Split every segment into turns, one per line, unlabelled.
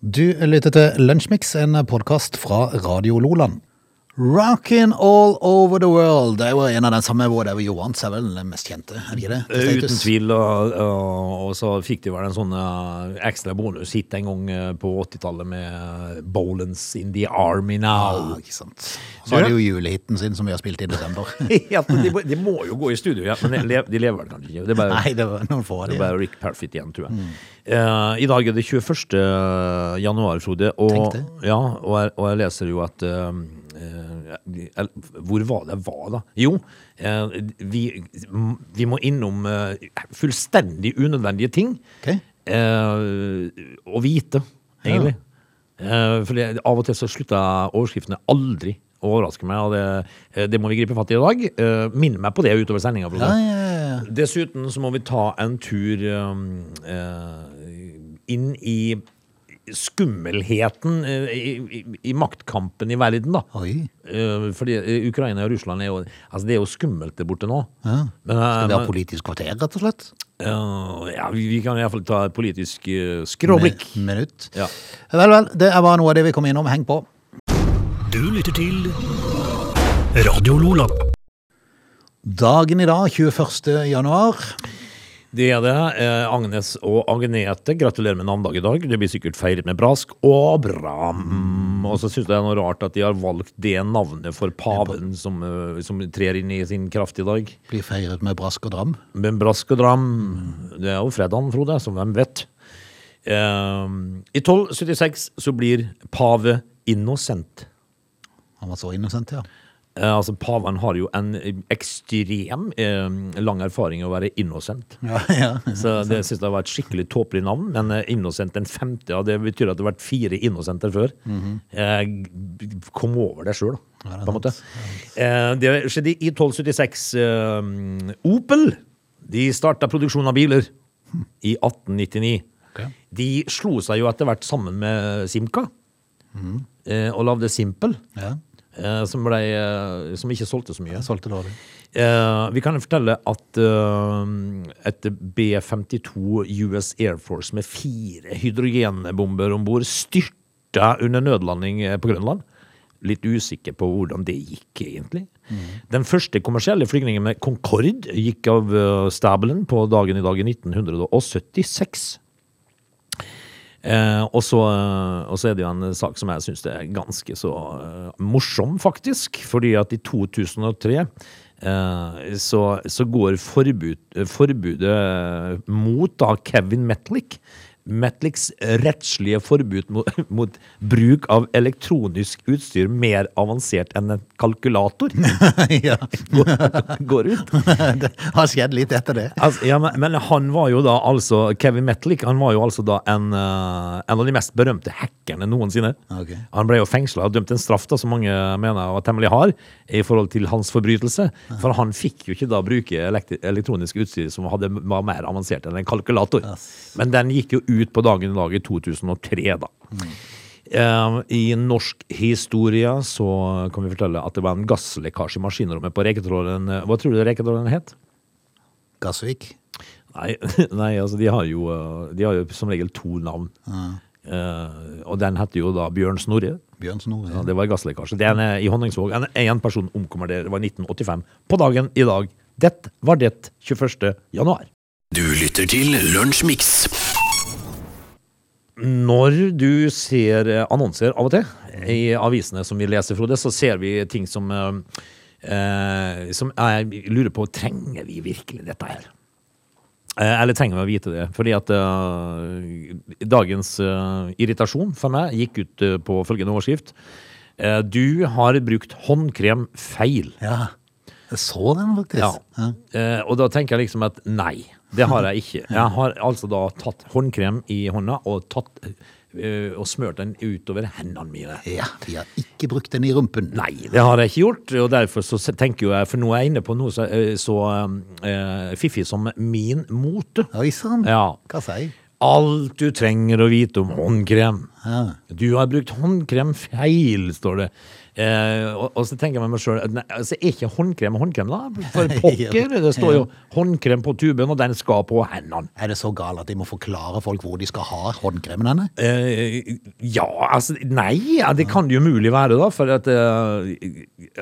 Du lytter til Lunsjmix, en podkast fra Radio Loland. Rockin' all over the world. Det er jo en av den samme hvor det er Johan som er vel den mest kjente. er det ikke det?
Eh, Uten
Status.
tvil. Og, og, og så fikk de vel en sånn eh, ekstra bonushit en gang eh, på 80-tallet med Bolens in the Army Now.
Ja, ikke sant.
Ser
Så er det
du?
jo julehiten sin som vi har spilt i desember.
Ja, men de, må- de må jo gå i studio, ja. men de le- de lever vel kanskje ikke. Det er bare,
Nei, det var noen få av
det er
de.
bare Rick Perfit igjen, tror jeg.
Mm.
Eh, I dag er det 21. januar, Frode.
Tenk
Og,
det.
ja, og, jeg, og jeg leser jo at eh, eh, el- Hvor var det jeg var, da? Jo, eh, vi, vi må innom eh, fullstendig unødvendige ting.
Ok.
eh, å vite, egentlig. Eh, for det, av og til så slutta overskriftene aldri å overraske meg, og det, det må vi gripe fatt i i dag. Eh, minn meg på det utover sendinga. Frode.
Ja, ja, ja.
Dessuten så må vi ta en tur um, eh, inn i skummelheten eh, i, i, i maktkampen i verden, da.
Oi.
Eh, fordi eh, Ukraina og Russland er jo Altså, det er jo skummelt der borte nå.
Ja.
Men, eh,
Skal vi ha
men-
politisk kvarter, rett og slett?
Eh, ja, vi, vi kan iallfall ta et politisk uh, skråblikk.
Min- Minutt.
Ja.
Vel, vel. Det er bare noe av det vi kom innom. Heng på.
Du lytter til Radio Lola.
Dagen i dag, 21. januar.
Det er det. Eh, Agnes og Agnete, gratulerer med navnedag i dag. Det blir sikkert feiret med brask og bram. Og så syns jeg det er noe rart at de har valgt det navnet for paven som, eh, som trer inn i sin kraft i dag.
Blir feiret med brask og dram.
Men brask og dram, det er jo fredagen, Frode, som hvem vet. Eh, I 1276 så blir pave innocent.
Han var så innocent, ja.
Eh, altså, paven har jo en ekstrem eh, lang erfaring i å være innocent.
Ja, ja.
Så det synes jeg var et skikkelig tåpelig navn, men eh, Innocent den femte, ja, det betyr at det har vært fire Innocenter før. Eh, g- Kom over deg sjøl,
Mhm. Ja, det er
på en måte. Eh, Det skjedde i 1276. eh, Opel de starta produksjon av biler i 1899.
Ok.
De slo seg jo etter hvert sammen med Simca,
Mhm.
eh, og lagde Simpel.
ja.
eh, Som, ble, eh, som ikke solgte så mye.
Jeg solgte dårlig.
Eh, vi kan jo fortelle at eh, et B-52 US Air Force med fire hydrogenbomber om bord styrta under nødlanding eh, på Grønland. Litt usikker på hvordan det gikk, egentlig. Den første kommersielle flygningen med Concorde gikk av eh, stabelen på dagen i dag i 1976. Eh, og, så, eh, og så er det jo en sak som jeg syns er ganske så eh, morsom, faktisk. Fordi at i 2003 eh, så, så går forbud, eh, forbudet eh, mot da Kevin Metlick. Metlicks rettslige forbud mot, mot bruk av elektronisk utstyr mer avansert enn en kalkulator
ja.
går, går ut.
Det har skjedd litt etter det.
Altså, ja, men, men han var jo da altså Kevin Metlick han var jo altså da en, eh, en av de mest berømte hackerne noensinne.
Ok.
Han ble jo fengsla og dømt en straff da, som mange mener var temmelig hard i forhold til hans forbrytelse. For han fikk jo ikke da bruke elekt elektronisk utstyr som hadde, var mer avansert enn en kalkulator. Men den gikk jo ut på dagen i dag i 2003, da. Eh, I norsk historie så kan vi fortelle at det var en gasslekkasje i maskinrommet på reketråleren. Hva tror du reketråleren het?
Gassvik.
Nei, nei altså de har, jo, eh, de har jo som regel to navn. Eh, og den heter jo da Bjørn Snorre.
Bjørn Snorre.
Ja, det var gasslekkasje. Det er en, eh, i Honningsvåg. En, en person omkommer der. Det var 1985. På dagen i dag. Det var det 21. januar.
Du lytter til Lunsjmix.
Når du ser eh, annonser av og til i avisene som vi leser, Frode, så ser vi ting som eh, eh, Som jeg lurer på Trenger vi virkelig dette her? Eh, Eller trenger vi å vite det? Fordi at eh, dagens eh, irritasjon for meg gikk ut eh, på følgende overskrift. Eh, du har brukt håndkrem feil.
Ja. Jeg så den
Ja.
faktisk. Ja.
Eh, og da tenker jeg liksom at nei, det har jeg ikke. Jeg har altså da tatt håndkrem i hånda og, tatt, eh, og smørt den utover hendene mine.
Ja, vi har ikke brukt den i rumpen.
Nei, det har jeg ikke gjort, og derfor så tenker jo jeg, for nå er jeg inne på noe så, eh, så eh, fiffig som min mote.
Oi sann.
Ja.
Hva sier jeg?
Alt du trenger å vite om håndkrem. Du har brukt håndkrem feil, står det. Eh, og, og så tenker jeg med meg sjøl altså, Er ikke håndkrem håndkrem, da? For pokker! Det står jo håndkrem på tuben, og den skal på hendene.
Er det så galt at de må forklare folk hvor de skal ha håndkremen henne?
Eh, ja, altså Nei, ja, det kan det jo mulig være, da. For at eh,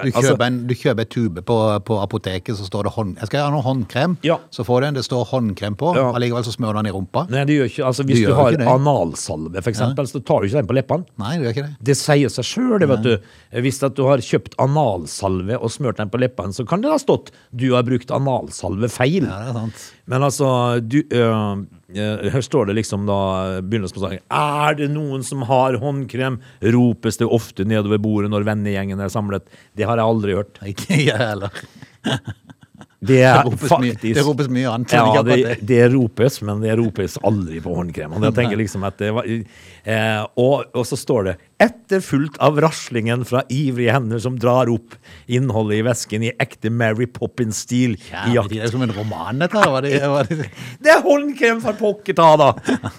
altså,
Du kjøper, en, du kjøper et tube på, på apoteket, så står det hånd... Jeg skal ha noe håndkrem,
Ja.
så får du en, det står håndkrem på,
Ja.
allikevel så smører du den i rumpa.
Nei, det gjør ikke, altså
Det
Hvis du
gjør
har
ikke det.
analsalve, for eksempel, så tar du ikke den på leppene.
Nei, du gjør ikke det.
Det sier seg sjøl, vet du. Eh, Hvis at du har kjøpt analsalve og smørt den på leppene, så kan det ha stått 'du har brukt analsalve feil'.
Ja, det er sant.
Men altså, du øh, øh, Her står det liksom da begynnelsen på sangen. Er det noen som har håndkrem? ropes det ofte nedover bordet når vennegjengen er samlet. Det har jeg aldri hørt.
Ikke jeg heller.
Det er
Det ropes mye-
faktisk
det ropes mye annet, men
Ja,
ikke
det,
akkurat det.
det ropes, men det ropes aldri på håndkrem. Og jeg tenker liksom at det var, eh, og, og så står det etterfulgt av raslingen fra ivrige hender som drar opp innholdet i vesken i ekte Mary Poppins-stil.
Ja,
i
men
jakt
det er jo som en roman, dette her. Var det, var det.
Det er håndkrem for pokker ta, da!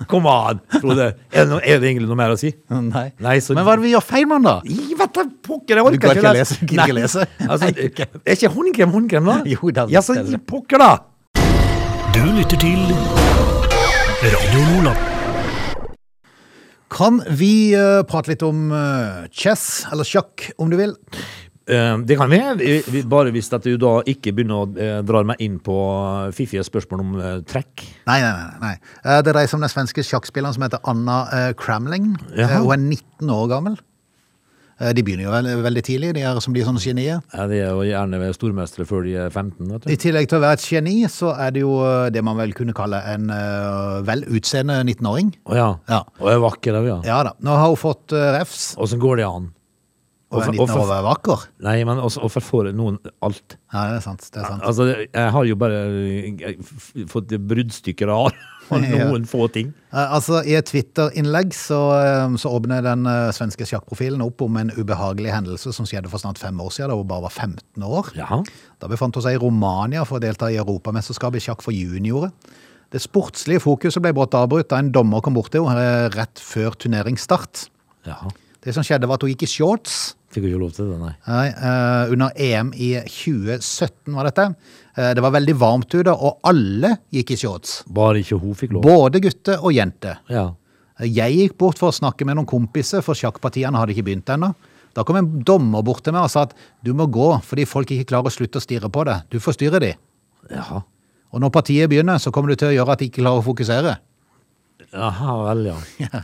Kom an, Frode. Er det, no- er det egentlig noe mer å si?
Nei.
Nei, så-
Men hva er det vi gjør feil med den, da?
I vet da pokker, jeg
Du
orker
kan
ikke
ikke lese, kan ikke
Nei.
lese.
Altså, er ikke håndkrem håndkrem, da?
Jo, da-
Ja, så gi pokker, da!
Du lytter til Radio Lola.
Kan vi eh, prate litt om eh, chess, eller sjakk, om du vil?
Eh, Det kan vi. Vi- vi- Bare hvis at du da ikke begynner å eh, dra meg inn på eh, fiffige spørsmål om eh, trekk.
Nei, nei, nei. nei. Eh, Det dreier seg om den svenske sjakkspilleren som heter Anna eh, Kramling.
Jaha.
Eh, Hun er 19 år gammel. Eh, De begynner jo veldig, veldig tidlig, de er som de er sånne genier.
Ja, De er jo gjerne stormestere før de er 15. vet du.
I tillegg til å være et geni, så er det jo eh, det man vel kunne kalle en eh, vel utseende 19-åring.
Å ja.
Ja.
Og er vakker òg, ja.
Ja da. Nå har hun fått eh, refs,
Åssen går det an?
og
Hvorfor-
er 19 år og
hvorfor-
er vakker.
Nei, men også- hvorfor får noen alt?
Ja, det er sant. Det er sant.
Altså, jeg har jo bare eh, f- fått bruddstykker av av
Ja.
noen få ting.
Eh, Altså, I et Twitter-innlegg så, eh, så åpner den eh, svenske sjakkprofilen opp om en ubehagelig hendelse som skjedde for snart fem år siden, da hun bare var 15 år.
Ja.
Da befant hun seg i Romania for å delta i Europamesterskapet i sjakk for juniorer. Det sportslige fokuset ble brått avbrutt da en dommer kom bort til henne eh, rett før turneringsstart.
ja.
Det som skjedde, var at hun gikk i shorts.
Fikk jo ikke lov til det, nei.
Nei, eh, under EM i 2017 var dette. Eh, det var veldig varmt ute, og alle gikk i shorts.
Bare ikke hun fikk lov.
Både gutter og jenter.
Ja.
Jeg gikk bort for å snakke med noen kompiser, for sjakkpartiene hadde ikke begynt ennå. Da kom en dommer bort til meg og sa at du må gå fordi folk ikke klarer å slutte å stirre på deg. Du forstyrrer de.
ja.
Og når partiet begynner, så kommer du til å gjøre at de ikke klarer å fokusere.
Jaha vel, ja.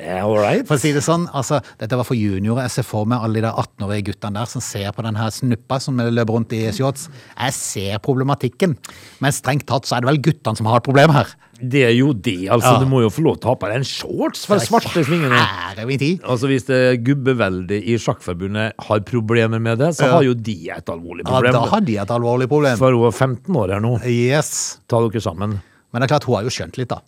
Eh, All right.
For å si det sånn, altså, Dette var for juniorer. Jeg ser for meg alle de der 18-årige guttene der som ser på den her snuppa som løper rundt i shorts. Jeg ser problematikken, men strengt tatt så er det vel guttene som har et problem her.
Det er jo det, altså.
Ja.
Du må jo få lov til å ha på deg en shorts for svarte svingene.
Her er vi i tid.
Altså Hvis det gubbeveldet i sjakkforbundet har problemer med det, så
Ja.
har jo de et alvorlig
Ja,
problem.
da har de et alvorlig problem.
For hun er 15 år her nå.
Yes.
Ta dere sammen.
Men det er klart, hun har jo skjønt litt, da.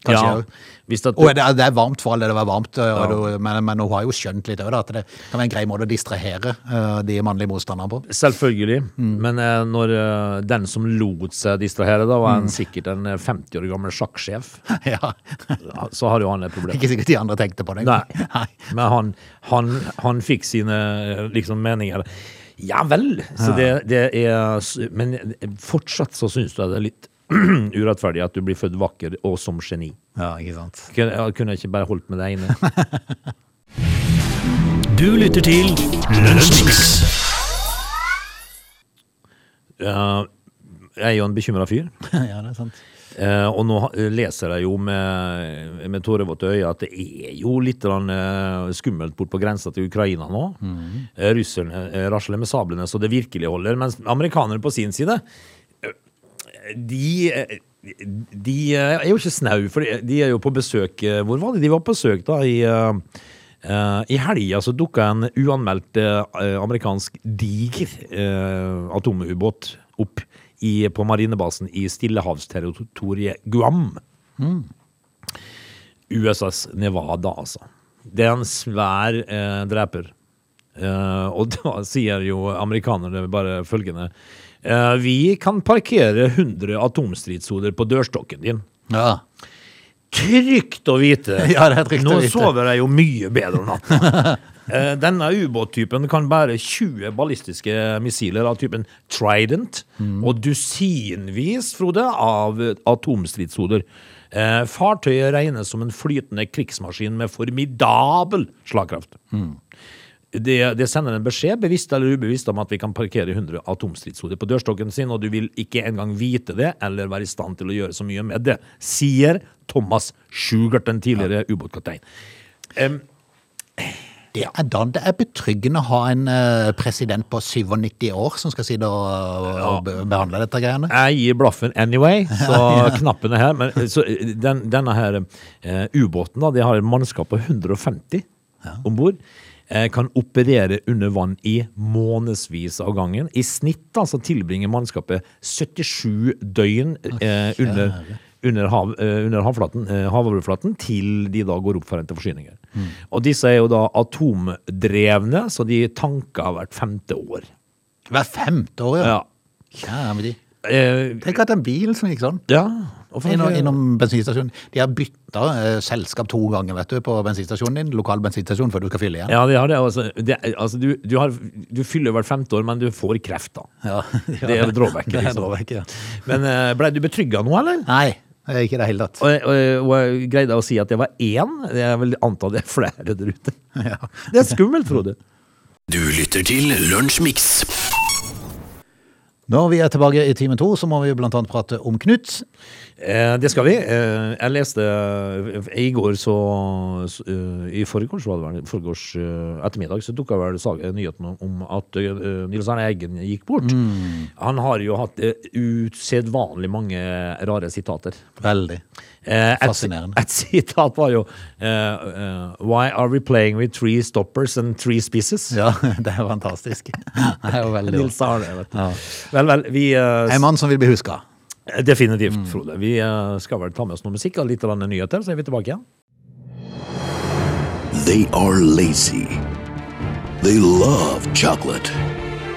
Kanskje
ja.
jeg også.
Hvis at
Og
du,
det er, det er varmt for alle, det var varmt, eh, og
Ja.
det- men, men hun har jo skjønt litt òg, da. At det kan være en grei måte å distrahere eh, de mannlige motstanderne på.
selvfølgelig.
Mm.
Men eh, når eh, den som lot seg distrahere, da var
Mm.
en, sikkert en eh, 50 år gammel sjakksjef,
ja.
ja, så har jo han et problem.
Ikke sikkert de andre tenkte på det.
Nei.
Nei.
Men han, han, han fikk sine eh, liksom, meninger. Ja vel! Så det, det er, s- men fortsatt så syns du at det er litt urettferdig at du blir født vakker og som geni.
Ja, ikke sant.
Kunne jeg kunne ikke bare holdt med deg inne.
Du lytter til Lunsjmix.
Eh, jeg er jo en bekymra fyr,
ja, det er sant.
eh, og nå ha- leser jeg jo med, med tårevåte øyne at det er jo litt grann, eh, skummelt bort på grensa til Ukraina nå. Eh, Russerne eh, rasler med sablene så det virkelig holder, mens amerikanere på sin side eh, de eh, de eh, er jo ikke snau, for de- de er jo på besøk eh, Hvor var de? De var på besøk da i eh, eh, I helga så dukka en uanmeldt eh, amerikansk diger eh, atomubåt opp i, på marinebasen i stillehavsterritoriet Guam. USAs Nevada, altså. Det er en svær eh, dreper. Eh, og da sier jo amerikanerne bare følgende eh, Vi kan parkere 100 atomstridshoder på dørstokken din.
Ja.
trygt å vite.
Ja, det er trygt
Nå
å vite.
sover jeg jo mye bedre om natta. Eh, Denne ubåttypen kan bære 20 ballistiske missiler av typen Trident
Mm.
og dusinvis, Frode, av eh, atomstridshoder. Eh, Fartøyet regnes som en flytende krigsmaskin med formidabel slagkraft. Det, det sender en beskjed, bevisst eller ubevisst, om at vi kan parkere 100 atomstridshoder på dørstokken sin, og du vil ikke engang vite det eller være i stand til å gjøre så mye med det, sier Thomas Schugert, den tidligere ubåtkaptein.
Det er, da, det er betryggende å ha en eh, president på 97 år som skal sitte og, og be- behandle dette greiene.
Jeg gir blaffen anyway, så knappen er her. Men eh, så eh, den, denne her eh, ubåten da, de har et mannskap på 150 om bord. Eh, kan operere under vann i månedsvis av gangen. I snitt altså, tilbringer mannskapet 77 døgn eh, under, under, hav, eh, under havflaten, eh, havoverflaten til de da går opp for rente forsyninger.
Mm.
Og disse er jo da atomdrevne, så de tanker hvert femte år.
Hver femte år, ja.
Ja.
Kjære med de.
Eh,
Tenk at en bil som gikk sånn.
ja. og for-
Innom, innom bensinstasjonen. De har bytta eh, selskap to ganger vet du, på bensinstasjonen din, lokal bensinstasjon, før du skal fylle igjen.
Ja, de har det. Altså, det er- altså, du, du, har, du fyller hvert femte år, men du får kreft, da.
Ja, ja.
Det er drawbacket,
Det er
liksom.
drawbacket, ja.
Men eh, blei du betrygga nå, eller?
Nei, det er ikke det hele tatt.
Og, og, og jeg greide å si at det var én. Jeg vil anta det er flere der ute. Det er skummelt, Frode.
Du lytter til Lunsjmix.
Når vi er tilbake i time to, så må vi jo blant annet prate om Knut.
Eh, det skal vi. Eh, jeg leste eh, I går så så, eh, I forgårs var det vel, forgårs eh, ettermiddag så dukka vel sag- eh, nyheten om- om at eh, Nils Arne Eggen gikk bort. Han har jo hatt eh, usedvanlig mange rare sitater.
Veldig.
Eh, et-
Fascinerende.
Et sitat var jo eh, eh, Why are we playing with three stoppers and three spices?
Ja, det er fantastisk. Det er jo veldig
Nils Arne, vet du.
Ja.
Vel, vel, vi eh,
En mann som vil bli huska.
Definitivt, Frode. Vi eh, skal vel ta med oss noe musikk og litt grann nyheter, så er vi tilbake igjen.
They are lazy. They love chocolate.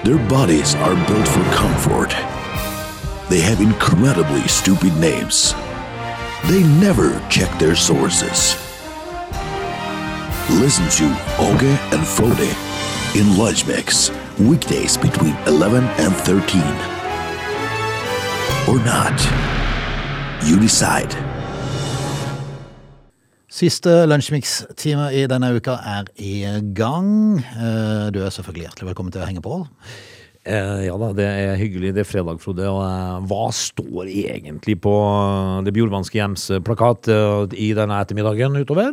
Their bodies are built for comfort. They have incredibly stupid names. They never check their sources. Listen to Oge and Frode in Lunch Mix, weekdays between 11 and 13. Or not. You decide.
Siste lunsjmix-time i denne uka er i gang. Eh, Du er selvfølgelig hjertelig velkommen til å henge på.
Eh, ja da, det er hyggelig. Det er fredag, Frode. Og eh, hva står egentlig på eh, det bjorvanske hjems eh, plakat eh, i denne ettermiddagen utover?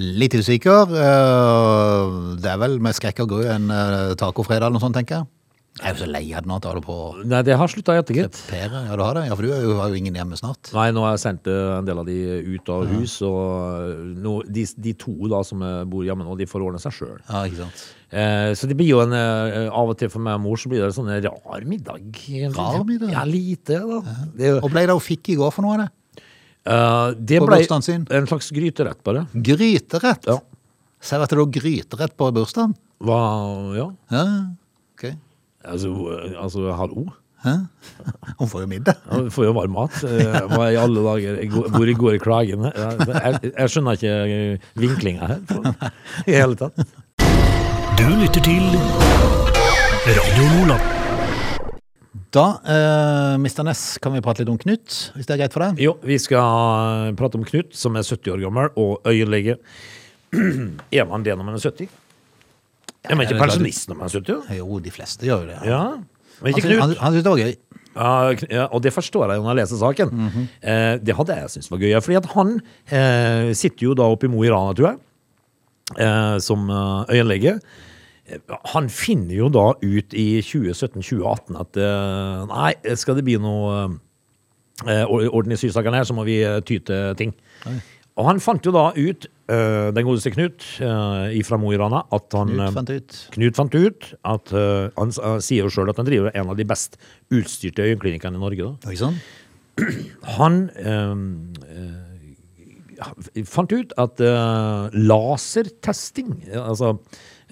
Litt usikker. eh, Det er vel med skrekk og gru en eh, tacofredag eller noe sånt, tenker jeg. Jeg er jo så lei av den at jeg holder på å
Nei, det har slutta i etter, gitt.
pære. Ja, du har det? Ja, for du er jo- har jo ingen hjemme snart.
Nei, nå har jeg sendt eh, en del av de ut av hus, og eh, nå, de, de to da som eh, bor hjemme nå, de får ordne seg sjøl.
Ja, ikke sant.
Eh, så det blir jo en eh, Av og til for meg og mor så blir det sånn en rar middag.
Rar middag?
Ja, lite, da. Det, er jo-
Og ble det hun fikk i går for noe av det?
eh, det
På
ble
bursdagen sin?
en slags gryterett, bare.
Gryterett?
Ja.
Ser at det var gryterett på bursdagen?
Hva Ja.
Ja, ok.
Altså, eh, altså hallo?
Hæ? Hun får jo middag.
Ja, Du får jo varm mat. eh, Hva i alle dager i går- Hvor i går klagen? Ja, Jeg, jeg skjønner ikke vinklinga her. for- I hele tatt.
Du lytter til Radio Nordland.
Da, eh, Mr. Ness, kan vi prate litt om Knut, hvis det er greit for deg?
Jo, vi skal prate om Knut, som er 70 år gammel, og øyelege. Er man det når man er 70? Er
Ja, det er
man ikke
klart.
pensjonist når man er 70? da?
Jo, de fleste gjør jo det.
Ja.
Han
Men ikke
sy- Altså, Han,
Knut.
han syntes det var gøy.
Ja, Kn- ja, og det forstår jeg jo når jeg leser saken.
Mhm.
eh, det hadde jeg syntes var gøy. ja, Fordi at han eh, sitter jo da oppe i Mo i Rana, tror jeg, eh, som eh, øyenlege. Eh, Han finner jo da ut i 2017-2018 at eh, nei, skal det bli noe eh, or- orden i sysakene her, så må vi eh, ty til ting. Og han fant jo da ut, eh, den godeste Knut eh, ifra Mo i Rana, at han
Knut
eh,
fant ut.
Knut fant ut at eh, Han s- eh, sier jo sjøl at han driver en av de best utstyrte øyeklinikkene i Norge. Da.
Ikke sant?
Han eh, eh, fant ut at eh, lasertesting, eh, altså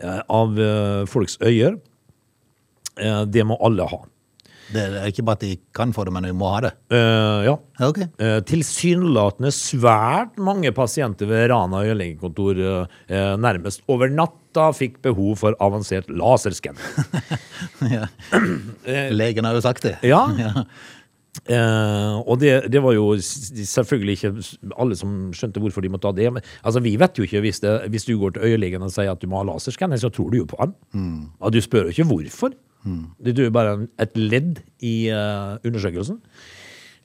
eh, av eh, folks øyer, eh, det må alle ha.
Det er ikke bare at de kan få det, men de må ha det.
Eh, ja.
Ja, Ok.
Eh, Tilsynelatende svært mange pasienter ved Rana øyelengekontor eh, eh, nærmest over natta fikk behov for avansert laserskann.
Ja. Legen har jo sagt det.
Eh. Ja. Eh, og det, det var jo s- selvfølgelig ikke s- alle som skjønte hvorfor de måtte ha det. Men altså, vi vet jo ikke hvis, det, hvis du går til øyelegen og sier at du må ha laserskanner, så tror du jo på han. Og du spør jo ikke hvorfor. Det er jo bare en, et ledd i eh, undersøkelsen.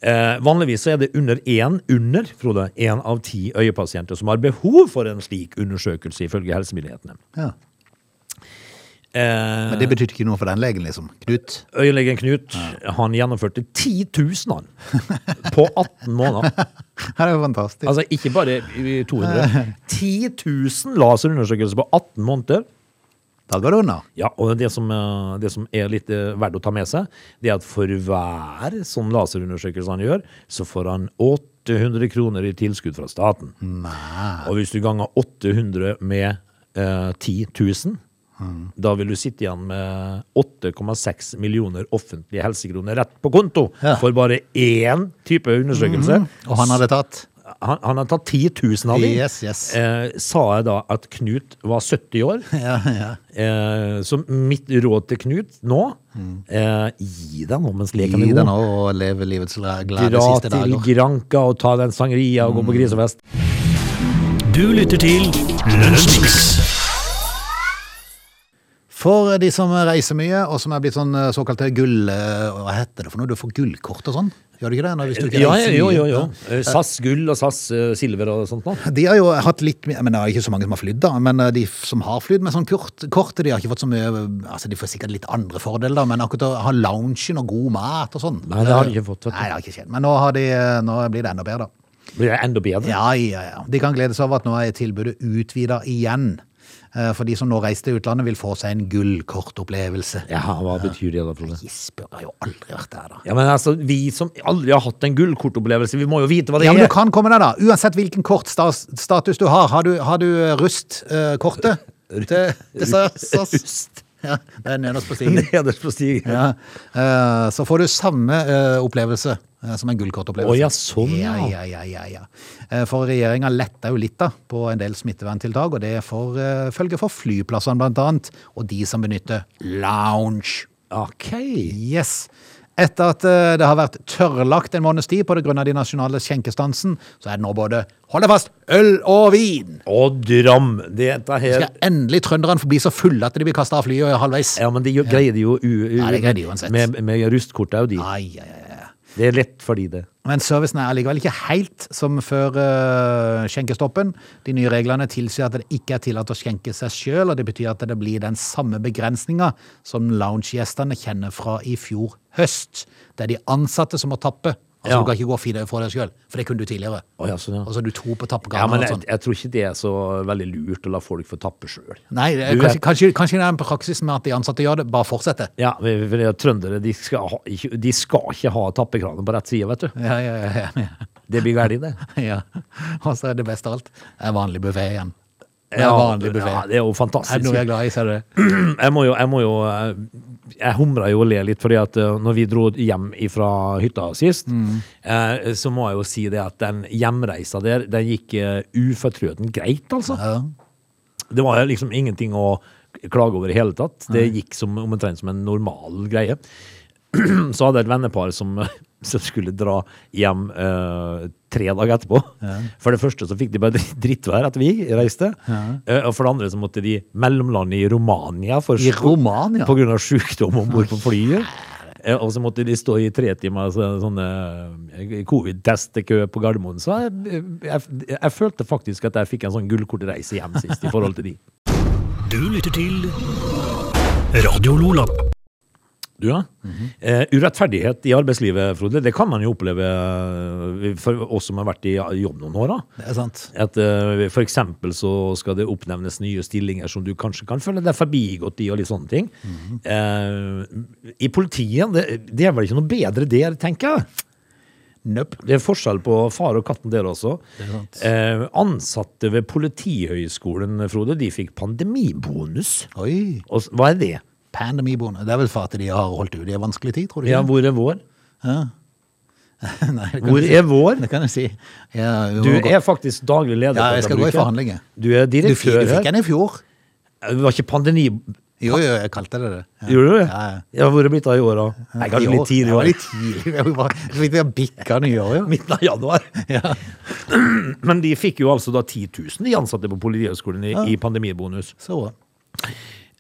Eh, vanligvis så er det under én under, Frode, én av ti øyepasienter som har behov for en slik undersøkelse, ifølge helsemyndighetene.
Ja.
Eh,
Men det betydde ikke noe for den legen, liksom. Knut.
Øyelegen Knut han gjennomførte 10 000 han, på 18 måneder.
Ja, det er jo fantastisk.
Altså ikke bare i 200. 10 000 laserundersøkelser på 18 måneder. Altså-
da går det unna.
Ja, og det som, eh, det som er litt eh, verdt å ta med seg, det er at for hver sånn laserundersøkelse han gjør, så får han 800 kroner i tilskudd fra staten. Og hvis du ganger 800 med eh, 10 000,
Mm.
da vil du sitte igjen med 8,6 millioner offentlige helsekroner rett på konto
Ja. Mhm.
for bare én type undersøkelse.
Og han hadde tatt.
Han, han har tatt 10 000 av dem.
Yes, yes.
Eh, sa jeg da at Knut var 70 år?
Ja, ja.
Eh, så mitt råd til Knut nå eh, Gi deg nå mens leken
Mm. Gi
er
deg
god.
nå og leve livets glade
Dra
siste Mm.
til
dager.
Granca og ta den sangria og gå på grisefest.
Du lytter til Lunsjmix.
For eh, de som reiser mye, og som er blitt sånn eh, såkalte gull... eh, Hva heter det for noe? Du får gullkort og sånn? Gjør du ikke det? Når, hvis du ikke
Ja,
reiser
jo,
mye?
jo, jo. Eh, SAS gull og SAS eh, silver og sånt nå.
De har jo hatt litt mer, men det er ikke så mange som har flydd da, men eh, de som har flydd med sånn kort, kort, de har ikke fått så mye, altså de får sikkert litt andre fordeler da, men akkurat å ha loungen og god mat og sånn.
Nei, det har de ikke fått, vet du.
Nei, det har ikke skjedd, men nå, har de, eh, nå blir det enda bedre da.
Blir det enda bedre?
Ja, ja, ja. De kan glede seg over at nå er tilbudet utvidet igjen, Eh, for de som nå reiser til utlandet vil få seg en gullkortopplevelse.
Ja, hva betyr det da, Frode?
Gisper har jo aldri vært der da.
Ja, men altså, vi som aldri har hatt en gullkortopplevelse, vi må jo vite hva det
Ja, men du
er.
kan komme deg da, uansett hvilken kortstatus du har. Har du, har du eh, rust-kortet? det, det sa SAS.
Ust.
Ja, det er nederst på stigen.
Nederst på stigen.
Ja. eh, Så får du samme eh, opplevelse eh, som en gullkortopplevelse.
Å, ja, sånn,
ja.
ja.
Ja, ja, ja, ja. Eh, For regjeringa letta jo litt da, på en del smitteverntiltak, og det får eh, følge for flyplassene blant annet, og de som benytter lounge.
Ok.
Yes. Etter at eh, det har vært tørrlagt en måneds tid på det grunn av de nasjonale skjenkestansen, så er det nå både, hold deg fast, øl og vin!
Og dram. Dette her
Skal endelig trønderne få bli så fulle at de blir kasta av flyet halvveis?
Ja, men de jo- greier det jo u, u,
Ja, det greier de uansett.
Med, med rustkortet er jo de.
Ai, ai, ai, ai.
Det er lett for de, det.
Men servicen er allikevel ikke helt som før eh, skjenkestoppen. De nye reglene tilsier at det ikke er tillatt å skjenke seg sjøl, og det betyr at det blir den samme begrensninga som loungegjestene kjenner fra i fjor høst. Det er de ansatte som må tappe. Altså,
Ja.
Du kan ikke gå og finne for deg sjøl, for det kunne du tidligere.
Å, ja, sånn, ja.
Altså, du tror på
Ja,
tappegaven
men
og
jeg,
sånn.
jeg tror ikke det er så veldig lurt å la folk få tappe sjøl.
Nei, det er
Du
kanskje,
vet-
kanskje, kanskje det er en praksis med at de ansatte gjør det, bare fortsette.
Ja, men- for det er trøndere de skal, ha, ikke- de skal ikke ha tappekranen på rett side, vet du.
Ja, ja, ja, ja,
Det blir galt, det.
ja. Og så er det beste av alt, det er vanlig buffé igjen. Det er
Ja,
vanlig buffé.
ja, det er jo
er det noe jeg er
fantastisk.
glad i, ser du det?
Jeg må jo, jeg må jo eh, Jeg humra jo og le litt, fordi at eh, når vi dro hjem fra hytta sist,
Mm.
eh, så må jeg jo si det at den hjemreisa der, den gikk eh, ufortrødent greit, altså.
Ja.
Det var liksom ingenting å klage over i hele tatt. Det gikk som, omtrent som en normal greie. Så hadde jeg et vennepar som, som skulle dra hjem eh, tre dager etterpå. For det første så fikk de bare dritt- drittvær etter vi reiste. Eh, og for det andre så måtte de mellomlande i Romania for
I Romania?
på grunn av sykdom om bord på flyet. Eh, Og så måtte de stå i tre timer så, sånne eh, covid-testekø på Gardermoen. Så jeg, jeg, jeg følte faktisk at jeg fikk en sånn gullkortreise hjem sist i forhold til de.
Du lytter til Radio Lola.
Du, ja. eh, urettferdighet i arbeidslivet, Frode, det kan man jo oppleve eh, for oss som har vært i jobb noen år. da.
Det er sant.
At eh, for eksempel så skal det oppnevnes nye stillinger som du kanskje kan føle deg forbigått i, og litt sånne ting. eh, I politiet, det, det er vel ikke noe bedre der, tenker jeg.
Nope.
Det er forskjell på far og katten der også. Eh, ansatte ved Politihøgskolen, Frode, de fikk pandemibonus.
Oi.
Og s- hva er det?
Pandemiboende. Det er vel for at de har holdt ut i en vanskelig tid, tror du?
Ja,
ikke?
hvor er vår?
Nei, det kan
Hvor
jeg si.
er vår?
Det kan jeg si. Ja, jo,
Du
godt.
er faktisk daglig leder.
Ja,
på
jeg skal gå i
Tabruket.
forhandlinger.
Du er
du, fikk-
direktør
du fikk
her.
den i fjor.
Det var ikke pandemi...
Jo, jo, jeg kalte det det. Ja.
Gjorde du det?
Ja, ja.
Ja, hvor er det blitt av i år, da? Nei,
I
kanskje
år.
litt
Jeg
tidlig i
var
år.
litt tidlig. Jeg var- Jeg fikk det bikka nyåret, jo.
Midten av januar.
Ja.
Men de fikk jo altså da 10 000 de ansatte på Politihøgskolen i, i pandemibonus.
Så bra.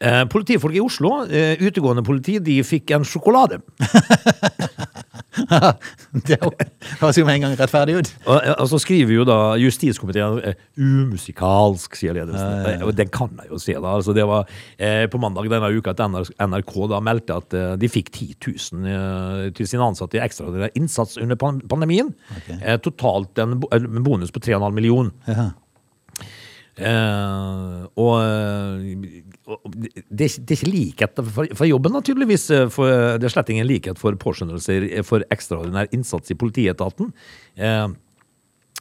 Eh, politifolk i Oslo, eh, utegående politi, de fikk en sjokolade.
Det høres jo med en gang rettferdig ut.
Og, eh, og så skriver jo da justiskomiteen eh, umusikalsk, sier ledelsen. Eh, Og den kan jeg jo se, da. Altså, det var eh, på mandag denne uka at NR NRK da meldte at eh, de fikk 10 000 eh, til sine ansatte i ekstraordinær innsats under pan pandemien. Eh, totalt en, bo en bonus på 3,5 millioner.
Ja.
Eh, og, eh, og det, det er ikke- det er ikke likhet for, for jobben, da, tydeligvis. eh, For, det er slett ingen likhet for påskjønnelser for ekstraordinær innsats i politietaten. Eh,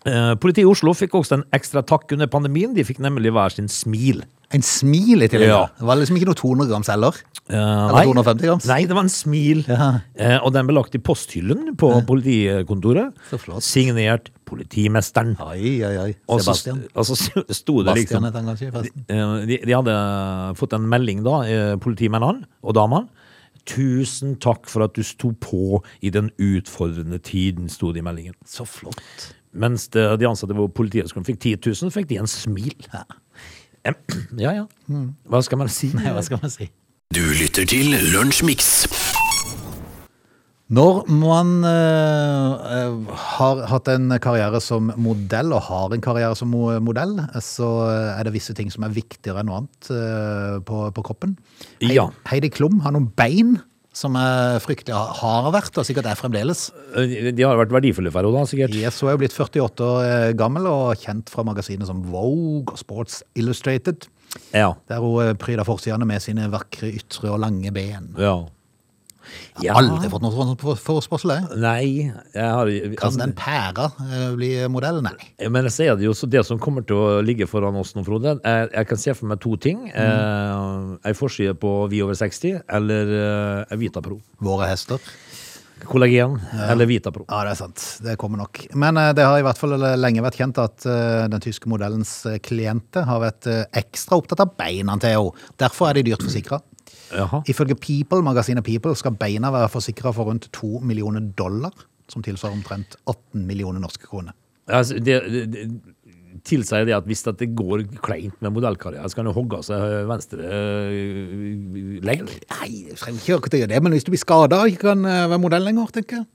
eh, Politiet i Oslo fikk også en ekstra takk under pandemien. De fikk nemlig hver sin smil.
En smil i tillegg.
Ja.
Det var liksom ikke noe 200 grams heller.
Eh,
Eller 250 grams.
Nei, det var en smil.
Ja.
Eh, og den ble lagt i posthyllen på politikontoret.
Så flott.
Signert politimesteren.
Ai, ai, ai.
Og så,
Sebastian.
og så sto det
Bastian
liksom
heter han kanskje, forresten.
Eh, De, de hadde fått en melding da, eh, politimennene og damene. Tusen takk for at du sto på i den utfordrende tiden, sto det i meldingen.
Så flott.
Mens de, de ansatte på Politihøgskolen fikk 10 000, fikk de en smil. Em, Ja, ja. Hva skal man si?
Mm. Nei, hva skal man si?
Du lytter til Lunsjmix.
Når man eh, eh, har hatt en karriere som modell, og har en karriere som mo- modell, så er det visse ting som er viktigere enn noe annet eh, på, på kroppen. Hei-
Ja.
Heidi Klum har noen bein som er fryktelig har vært, og sikkert er fremdeles.
Eh, De har vært verdifulle for henne, da, sikkert.
Yes, hun er jo blitt 48 år eh, gammel og kjent fra magasiner som Vogue og Sports Illustrated,
Ja.
der hun eh, pryder forsidene med sine vakre ytre og lange ben.
ja.
Jeg har aldri fått noe sånt for- forespørsel, jeg.
Nei, jeg har
Kan
altså,
den pæra eh, bli modell? Nei.
Men jeg sier det jo, så det som kommer til å ligge foran oss nå, Frode Jeg, jeg kan se for meg to ting. Eh, ei forside på Vi over 60 eller eh, ei Vitapro.
Våre hester.
Kollagen eller Vitapro.
Ja, det er sant. Det kommer nok. Men eh, det har i hvert fall lenge vært kjent at eh, den tyske modellens eh, klienter har vært eh, ekstra opptatt av beina til henne. Derfor er de dyrt forsikra.
Jaha.
Ifølge People, magasinet People skal beina være forsikra for rundt to millioner dollar, som tilsvarer omtrent 18 millioner norske kroner.
Altså, det, det, det tilsier det at hvis at det går kleint med modellkarriere, så kan du hogge av seg venstre eh, legg.
Nei, du trenger ikke akkurat å gjøre det, men hvis du blir skada og ikke kan eh, være modell lenger, tenker jeg,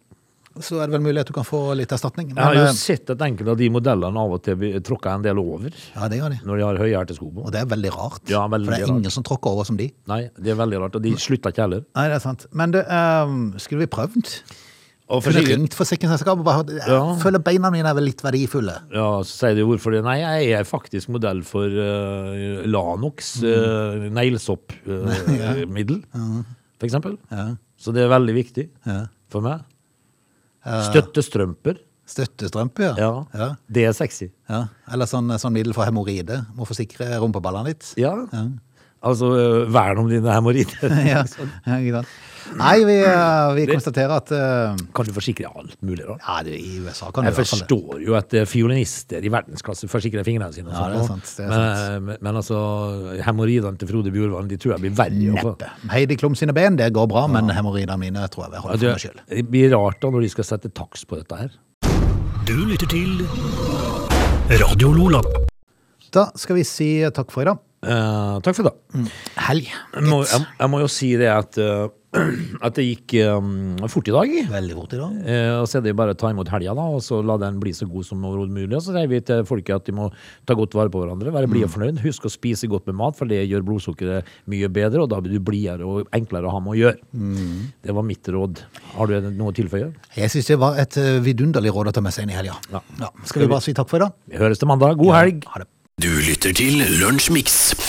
så er det vel mulig at du kan få litt erstatning.
Jeg har
Men,
jo
eh,
sett at enkelte av de modellene av og til blir tråkka en del over
ja, det gjør de.
når de har høye hjertesko på.
Og det er veldig rart.
Ja, veldig
for det er
rart.
ingen som tråkker over som de.
Nei, det er veldig rart. Og de slutter ikke heller.
Nei, det er sant. Men det, eh, skulle vi prøvd?
Og
Kunne
forsikring-
ringt forsikringsselskapet og bare hørt, jeg
Ja.
føler beina mine er vel litt verdifulle.
Ja, så sier de hvorfor det. Nei, jeg er faktisk modell for eh, Lanox
Mm.
uh, neglesoppmiddel, for eksempel. Så det er veldig viktig
Ja.
for meg. Støttestrømper.
Støttestrømpe, ja.
Ja.
ja.
det er sexy.
ja. Eller sånn, sånn middel for hemoroide. Må forsikre rumpeballene litt.
Ja. Altså, eh, vern om dine hemoroider.
Ja, ikke sant? Nei, vi, eh, vi konstaterer at eh,
kan du forsikre alt mulig, da?
Ja, det, i USA kan du
Jeg
i hvert fall det.
forstår jo at eh, fiolinister i verdensklasse forsikrer fingrene sine. og
Ja, det er
sånn,
sant, det er
men, men, men altså, hemoroidene til Frode Bjurvann, de tror jeg blir verre. å få-
Neppe. Heidi Klum sine ben, det går bra, men hemoroidene mine tror jeg vil holde
Ja,
for meg
det,
sjøl.
det blir rart da når de skal sette taks på dette her.
Du lytter til Radio Lola.
Da skal vi si takk for i dag.
Eh, takk for det.
Helg.
Jeg må, jeg, jeg må jo si det at, eh, at det gikk eh, fort i dag.
Veldig fort i dag.
Eh, og så er det jo bare å ta imot helga, da, og så la den bli så god som overhodet mulig. Og så sier vi til folket at de må ta godt vare på hverandre, være blide og fornøyd. Husk å spise godt med mat, for det gjør blodsukkeret mye bedre, og da blir du blidere og enklere å ha med å gjøre. Det var mitt råd. Har du noe å tilføye?
Jeg syns det var et eh, vidunderlig råd å ta med seg inn i helga.
Ja.
Skal vi bare si takk for i dag?
Vi høres til mandag. God helg!
Ha det.
Du lytter til Lunsjmix.